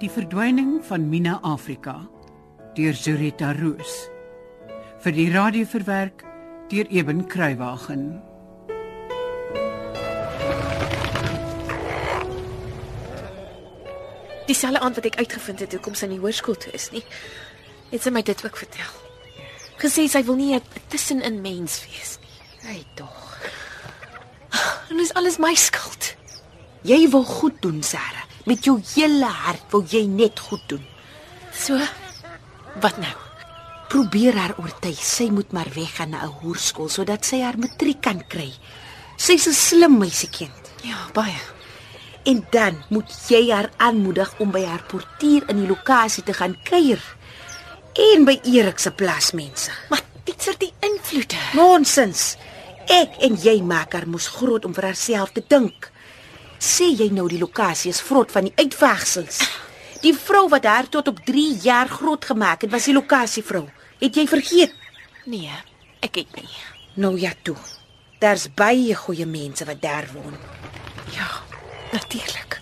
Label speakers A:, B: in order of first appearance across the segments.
A: Die verdwyning van Mina Afrika deur Zurita Roos vir die radio verwerk deur Eben Kruiwagen.
B: Dieselfde aand wat ek uitgevind het hoekom sy in die hoërskool toe is nie. Het sy my dit ook vertel. Gesê sy wil nie 'n tussenin mens wees nie.
C: Hey tog.
B: En dis alles my skuld.
C: Jy wil goed doen, Sarah. Met jou hele hart wil jy net goed doen.
B: So wat nou?
C: Probeer haar oortuig sy moet maar weggaan na 'n hoërskool sodat sy haar matriek kan kry. Sy's 'n slim meisiekind.
B: Ja, baie.
C: En dan moet jy haar aanmoedig om by haar portier in die lokasie te gaan kuier en by Erik se plaasmense.
B: Maar ditser die invloede.
C: Nonsens. Ek en jy maak haar mos groot om vir haarself te dink. Sê jy nou die lokasie is vrot van die uitvegsels. Die vrou wat haar tot op 3 jaar groot gemaak het, was die lokasievrou. Het jy vergeet?
B: Nee, ek het nie.
C: Nou ja toe. Daar's baie goeie mense wat daar woon.
B: Ja, natuurlik.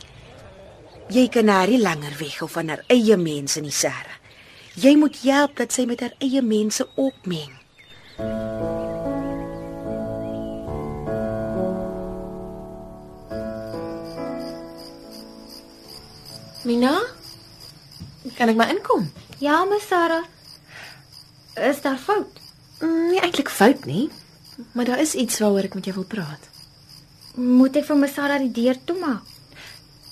C: Jy kan haar nie langer weghou van haar eie mense nie, Sarah. Jy moet help dat sy met haar eie mense opmeng.
B: Mina? Kan ek maar inkom?
D: Ja, my Sarah. Is daar fout?
B: Mm, Nie eintlik fout nie, maar daar is iets waaroor ek met jou wil praat.
D: Moet ek vir my Sarah die deur toemaak?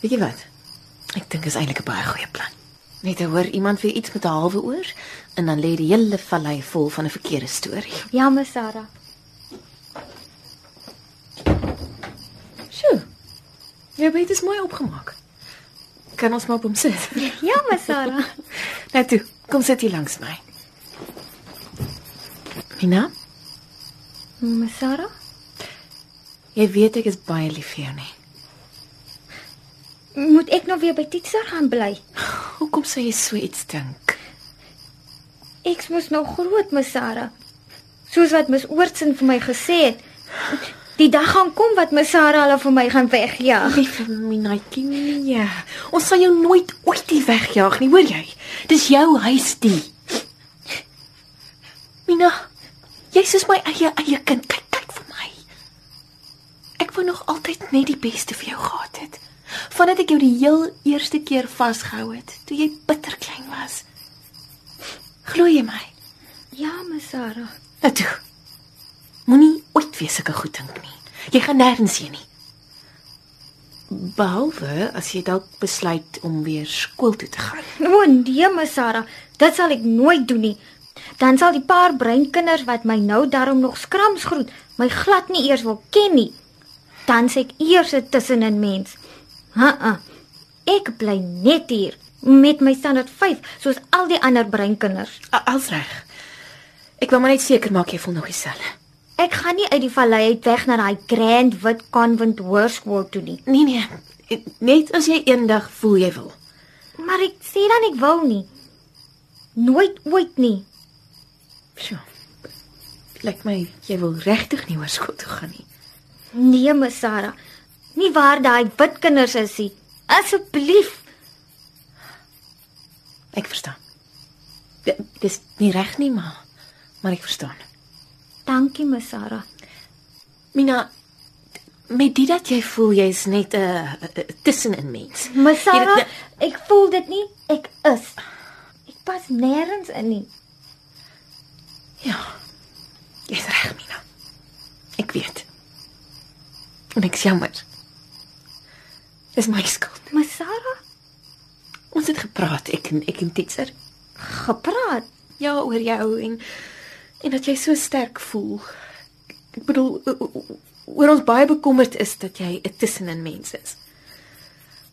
B: Weet jy wat? Ek dink is eintlik 'n baie goeie plan. Net te hoor iemand vir iets met 'n halwe oor en dan lê die hele vallei vol van 'n verkeerde storie.
D: Ja, my Sarah.
B: Sjoe. Jou bed is mooi opgemaak. Kan ons maar op hom sit?
D: Ja, my Sarah.
B: Nou toe, kom sit hier langs my. Mina,
D: my Sarah?
B: jy weet ek is baie lief vir jou nie.
D: Moet ek nou weer by Titser gaan bly?
B: Hoekom sê jy so iets dink?
D: Ek's mos nou groot, my Sarah. Soos wat Ms Oortsen vir my gesê het, die dag gaan kom wat my Sarah hulle vir my gaan wegjaag.
B: Lieve Minaatjie, nee. Ons sal jou nooit ooit hier wegjaag nie, hoor jy? Dis jou huis die. Mina, jy's soos my eie eie kind. Kyk, kyk vir my. Ek wou nog altyd net die beste vir jou gehad het. Vandat ek jou die heel eerste keer vasgehou het, toe jy bitter klein was. Glo jy my?
D: Ja, my Sarah.
B: Nou toe. Moenie ooit weer sulke goed dink nie. Jy gaan nêrens heen nie. Behalwe as jy dalk besluit om weer skool toe te gaan.
D: O nee, my Sarah, dit sal ek nooit doen nie. Dan sal die paar breinkinders wat my nou daarom nog skrams groet, my glad nie eers wil ken nie. Dan sê ek eers dit tussenin mens. Ha. -ha. Ek bly net hier met my standaard 5 soos al die ander breinkinders.
B: Als reg. Ek wil maar net seker maak jy voel nog dieselfde.
D: Ek gaan nie uit die vallei uit weg na daai Grand Wit Convent Hoërskool toe nie.
B: Nee nee, net as jy eendag voel jy wil.
D: Maar ek sê dan ek wil nie. Nooit ooit nie.
B: Sjoe. Lyk my jy wil regtig nie hoërskool toe gaan nie.
D: Nee, my Sarah. Nie waar daai wit kinders is nie. Asseblief.
B: Ek verstaan. D dis nie reg nie, maar maar ek verstaan.
D: Dankie, my Sarah.
B: Mina, met dit dat jy voel jy's net 'n uh, tussenin mens.
D: My Sarah,
B: Jy-
D: ek voel dit nie. Ek is. Ek pas nêrens in nie.
B: Ja. Jy's reg, Mina. Ek weet. En ek is jammer. Dis my skuld.
D: My Sarah
B: Ons het gepraat, ek en ek en Titser.
D: gepraat.
B: Ja, oor jou en en dat jy so sterk voel. Ek bedoel o- o- o- oor ons baie bekommerd is dat jy 'n tussenin mens is.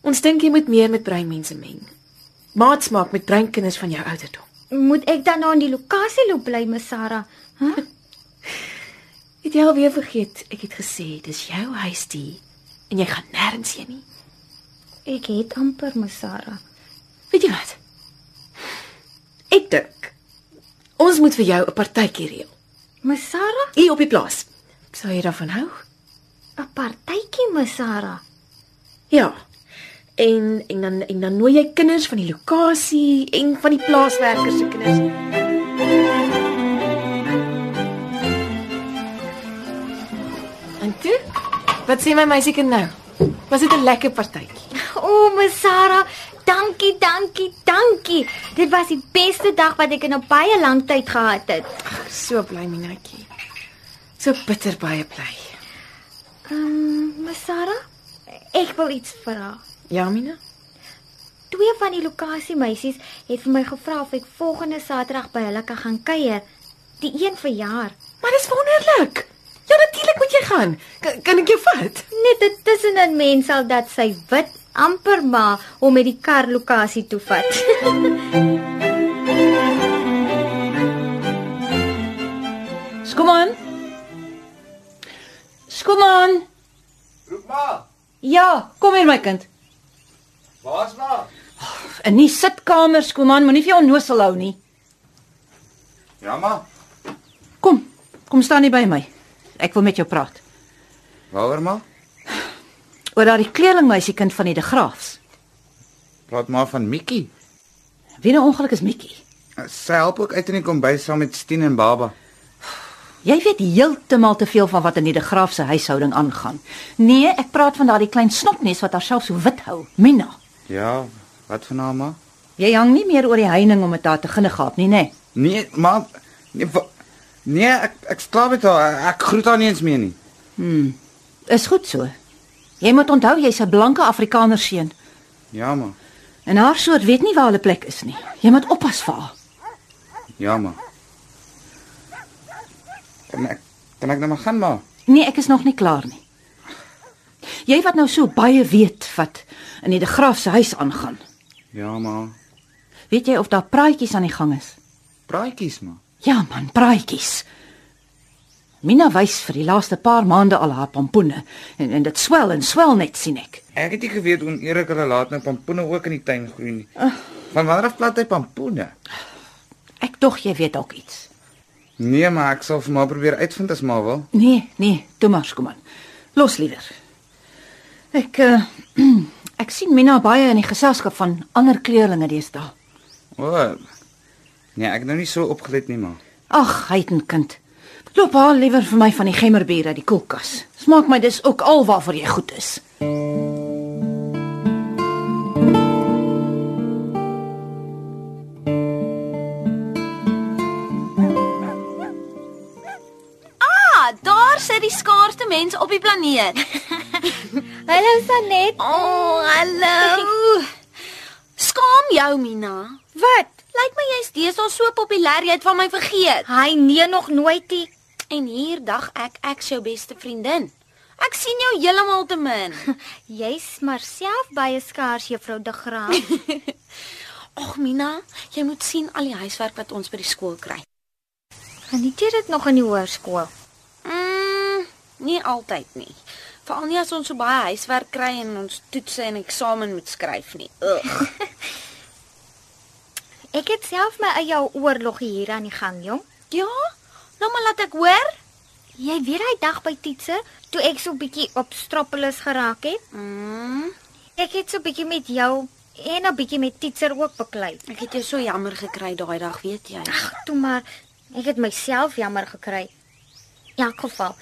B: Ons dink jy moet meer met breinmense meng. Maats maak met breinkinders van jou ouderdom.
D: Moet ek dan nou in die lokasie loop bly, my Sarah? Hæ?
B: Het jy alweer vergeet ek het gesê dis jou huis die en jy gaan nêrens heen nie.
D: Ek het amper my Sarah.
B: Weet jy wat? Ek dink ons moet vir jou 'n partytjie reël
D: My Sarah,
B: hier op die plaas. Sou jy daarvan hou?
D: 'n partytjie my Sarah.
B: Ja. En en dan en dan nooi jy kinders van die lokasie en van die plaaswerkers se kinders. En toe? Wat sê my meisiekind nou? Was dit 'n lekker partytjie?
D: O, oh, Ms Sarah, dankie, dankie, dankie. Dit was die beste dag wat ek in 'n baie lang tyd gehad het.
B: Ag, so bly Minatjie. So bitter baie bly.
D: Ehm, um, Ms Sarah, ek wil iets vra.
B: Ja, Mina?
D: Twee van die lokasiemeisies het vir my gevra of ek volgende Saterdag by hulle kan gaan kuier. Die een verjaar.
B: Maar dis wonderlik. Ja, natuurlik moet jy gaan. Kan, kan ek jou vat?
D: Net dit tussenin mens sal dat sy wit amper maar om met die kar lokasie toe vat.
C: Skoman. Skoman.
E: Roep maar.
C: Ja, kom hier my kind.
E: Waar's maar?
C: In die sitkamer, Skoman, moenie vir jou onnosel hou nie.
E: Ja maar.
C: Kom. Kom staan hier by my. Ek wil met jou praat
E: Waaroor maar?
C: oor daardie kleerlingmeisiekind van die De Graafs.
E: Praat maar van Mikkie.
C: Wie 'n ongeluk is Mikkie.
E: Sy help ook uit in die kombuis saam met Stien en Baba.
C: Jy weet heeltemal te veel van wat in die De Graaf se huishouding aangaan. Nee, ek praat van daardie klein snopnes wat haarself so wit hou, Mina.
E: Ja, wat van haar maar?
C: Jy hang nie meer oor die heining om met haar te ginnegaap nie, nê?
E: Nee, maar nee, wa- nee ek ek klaar met haar. Ek groet haar nie eens meer nie.
C: Is goed so. Jy moet onthou jy's 'n blanke Afrikaner seun
E: Ja maar.
C: en haar soort weet nie waar hulle plek is nie. Jy moet oppas vir haar.
E: Ja maar. Kan ek kan ek nou maar gaan maar?
C: Nee, ek is nog nie klaar nie. Jy wat nou so baie weet wat in die De Graaf se huis aangaan.
E: Ja maar.
C: Weet jy of daar praatjies aan die gang is?
E: Praatjies maar.
C: Ja man, praatjies. Mina wys vir die laaste paar maande al haar pompoene en en dit swel en swel net sien ek.
E: Ek het nie geweet oneerlik hulle laat nou pampoene ook in die tuin groei nie. Van wanneer af plant hy pampoene?
C: Ek dog jy weet dalk iets.
E: Nee, maar ek sal vir maar probeer uitvind as maar wil.
C: Nee, nee, toe maar kom aan. Los liewer. Ek uh, ek sien Mina baie in die geselskap van ander kleerlinge deesdae.
E: O. Nee, ek het nou nie so opgelet nie maar.
C: Ag, heidenkind. Loop haar liewer vir my van die gemmerbier uit die koelkas. Smaak my dis ook al waarvoor jy goed is.
F: Ah, daar sit die skaarsste mense op die planeet.
D: Hallo Sanet.
F: O, oh, hallo. Skaam jou, Mina.
D: Wat?
F: Lyk my jy's deesdae so populêr jy het van my vergeet.
D: Hy nee nog nooit nie.
F: En hier dag ek ek jou beste vriendin. Ek sien jou heeltemal te min.
D: Jy's maar self baie skaars juffrou De Graaf.
F: Ag Mina, jy moet sien al die huiswerk wat ons by die skool kry.
D: Geniet jy dit nog in die hoërskool?
F: Mm, nie altyd nie. Veral nie as ons so baie huiswerk kry en ons toetse en eksamen moet skryf nie. Ugh.
D: Ek het self my eie oorlog hier aan die gang, jong.
F: Ja? Nou maar laat ek hoor.
D: Jy weet daai dag by Tietse toe ek so bietjie op stroppeles geraak het?
F: Mm,
D: Ek het so bietjie met jou en 'n bietjie met Tietse ook beklei.
F: ek het jou so jammer gekry daai dag, weet jy.
D: Ag, toe maar. Ek het myself jammer gekry. In elk geval,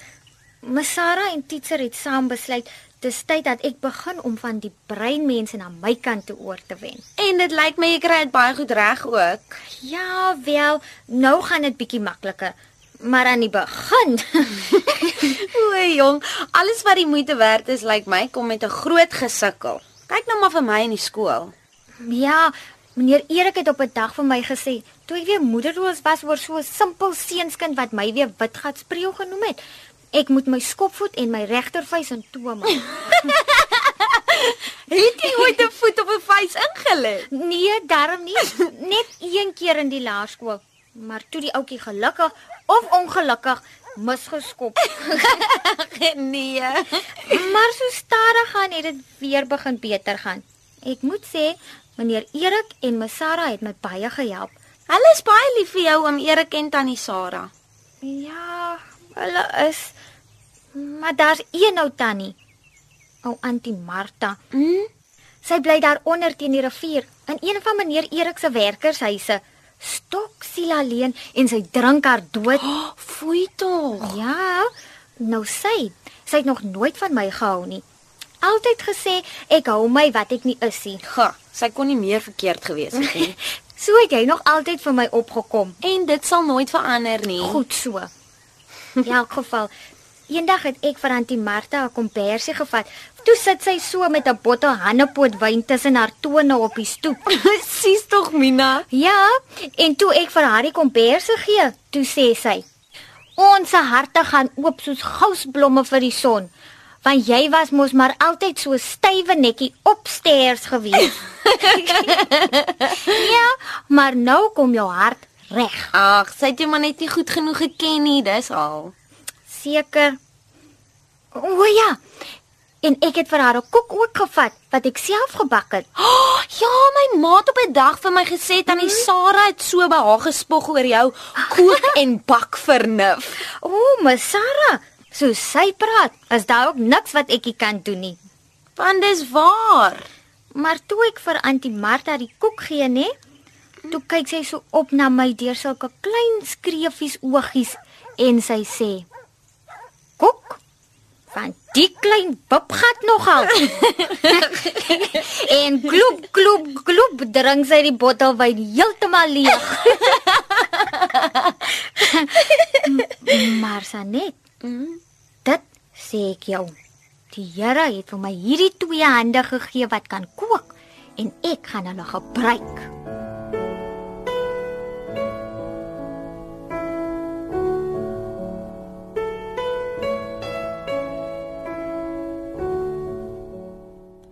D: Masara en Titser het saam besluit dis tyd dat ek begin om van die breinmense na my kant toe oor te wen.
F: En dit lyk my jy kry dit baie goed reg ook.
D: Ja, wel, nou gaan dit bietjie makliker, maar aan die begin.
F: O, jong, alles wat die moeite werd is, lyk my kom met 'n groot gesukkel. Kyk nou maar vir my in die skool.
D: ja, meneer Erik het op 'n dag vir my gesê, toe ek weer moederloos was oor so 'n simpel seunskind wat my weer witgat spreeu genoem het. Ek moet my skopvoet en my regtervuis in toe maak.
F: Het jy ooit 'n voet op 'n vuis ingelê?
D: Nee, darm nie. Net een keer in die laerskool. Maar toe die ouetjie gelukkig of ongelukkig misgeskop.
F: Nee.
D: maar so stadig gaan het dit weer begin beter gaan. Ek moet sê, meneer Erik en me Sarah het my baie gehelp.
F: Hulle is baie lief vir jou, oom Erik en tannie Sarah.
D: Ja, hulle is nou, maar daar's een ou tannie. Ou Auntie Martha.
F: Mm?
D: Sy bly daaronder teen die rivier in een van meneer Erik se werkershuise. Stok siel alleen en sy drink haar dood.
F: Oh, Foei tog.
D: Ja, nou sê, sy het nog nooit van my gehou nie. Altyd gesê ek hou my wat ek nie is nie.
F: Ga, sy kon nie meer verkeerd gewees het nie.
D: So het jy nog altyd vir my opgekom.
F: en dit sal nooit verander
B: Nee.
F: nie.
D: Goed so. Ja, In elk geval, eendag het ek vir Antie Martha 'n kompersie gevat. Toe sit sy so met 'n bottel hannepoot wyn tussen haar tone op die stoep.
F: Presies tog, Mina.
D: Ja, en toe ek vir haar die kompersie gee, toe sê sy: "Ons se harte gaan oop soos gousblomme vir die son, want jy was mos maar altyd so stywe netjie opstairs gewees." ja, maar nou kom jou hart reg.
F: Ag, sy het jou maar net nie goed genoeg geken nie, dis al.
D: Seker. O ja. En ek het vir haar 'n koek ook gevat wat ek self gebak het.
F: Oh, ja, my maat op 'n dag vir my gesê tannie Sarah het so by haar gespog oor jou kook en bak vernuf.
D: O, my Sarah, so sy praat, is daar ook niks wat ek nie kan doen nie.
F: Want dis waar.
D: Maar toe ek vir Auntie Martha die koek gee, nê, toe kyk sy so op na my deur sulke klein skreefies oogies en sy sê: "Koek, want die klein pap gat nogal." en gloep gloep gloep drink sy die bottel wyn heeltemal leeg. maar Sanet, dit sê ek jou. Die Here het vir my hierdie twee hande gegee wat kan kook en ek gaan hulle gebruik.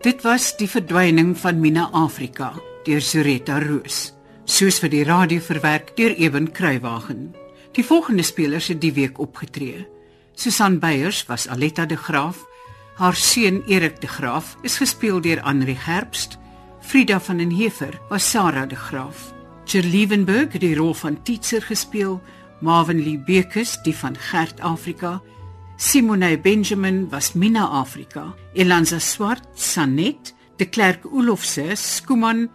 A: Dit was die verdwyning van Mina Afrika deur Sureta Roos, soos vir die radio verwerk deur Eben Kruiwagen. Die volgende spelers het die week opgetree. Susan Beyers was Aletta de Graaf, haar seun Erik de Graaf is gespeel deur Anri Gerbst, Frida van den Heever was Sarah de Graaf. Cherlievenburg het die rol van Titser gespeel, Marvin Lee Bekus die van Gert Afrika, Simone Benjamin was Mina Afrika, Elanza Swart Sanet, De Klerk Olofse Skuman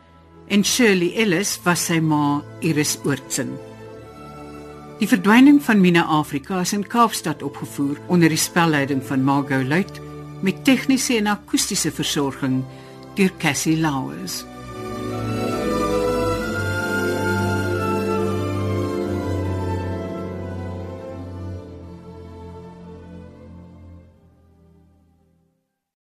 A: en Shirley Ellis was sy ma Iris Oortsen. Die verdwyning van Mina Afrika is in Kaapstad opgevoer onder die spelleiding van Margot Luit met tegniese en akoestiese versorging deur Cassie Lauers.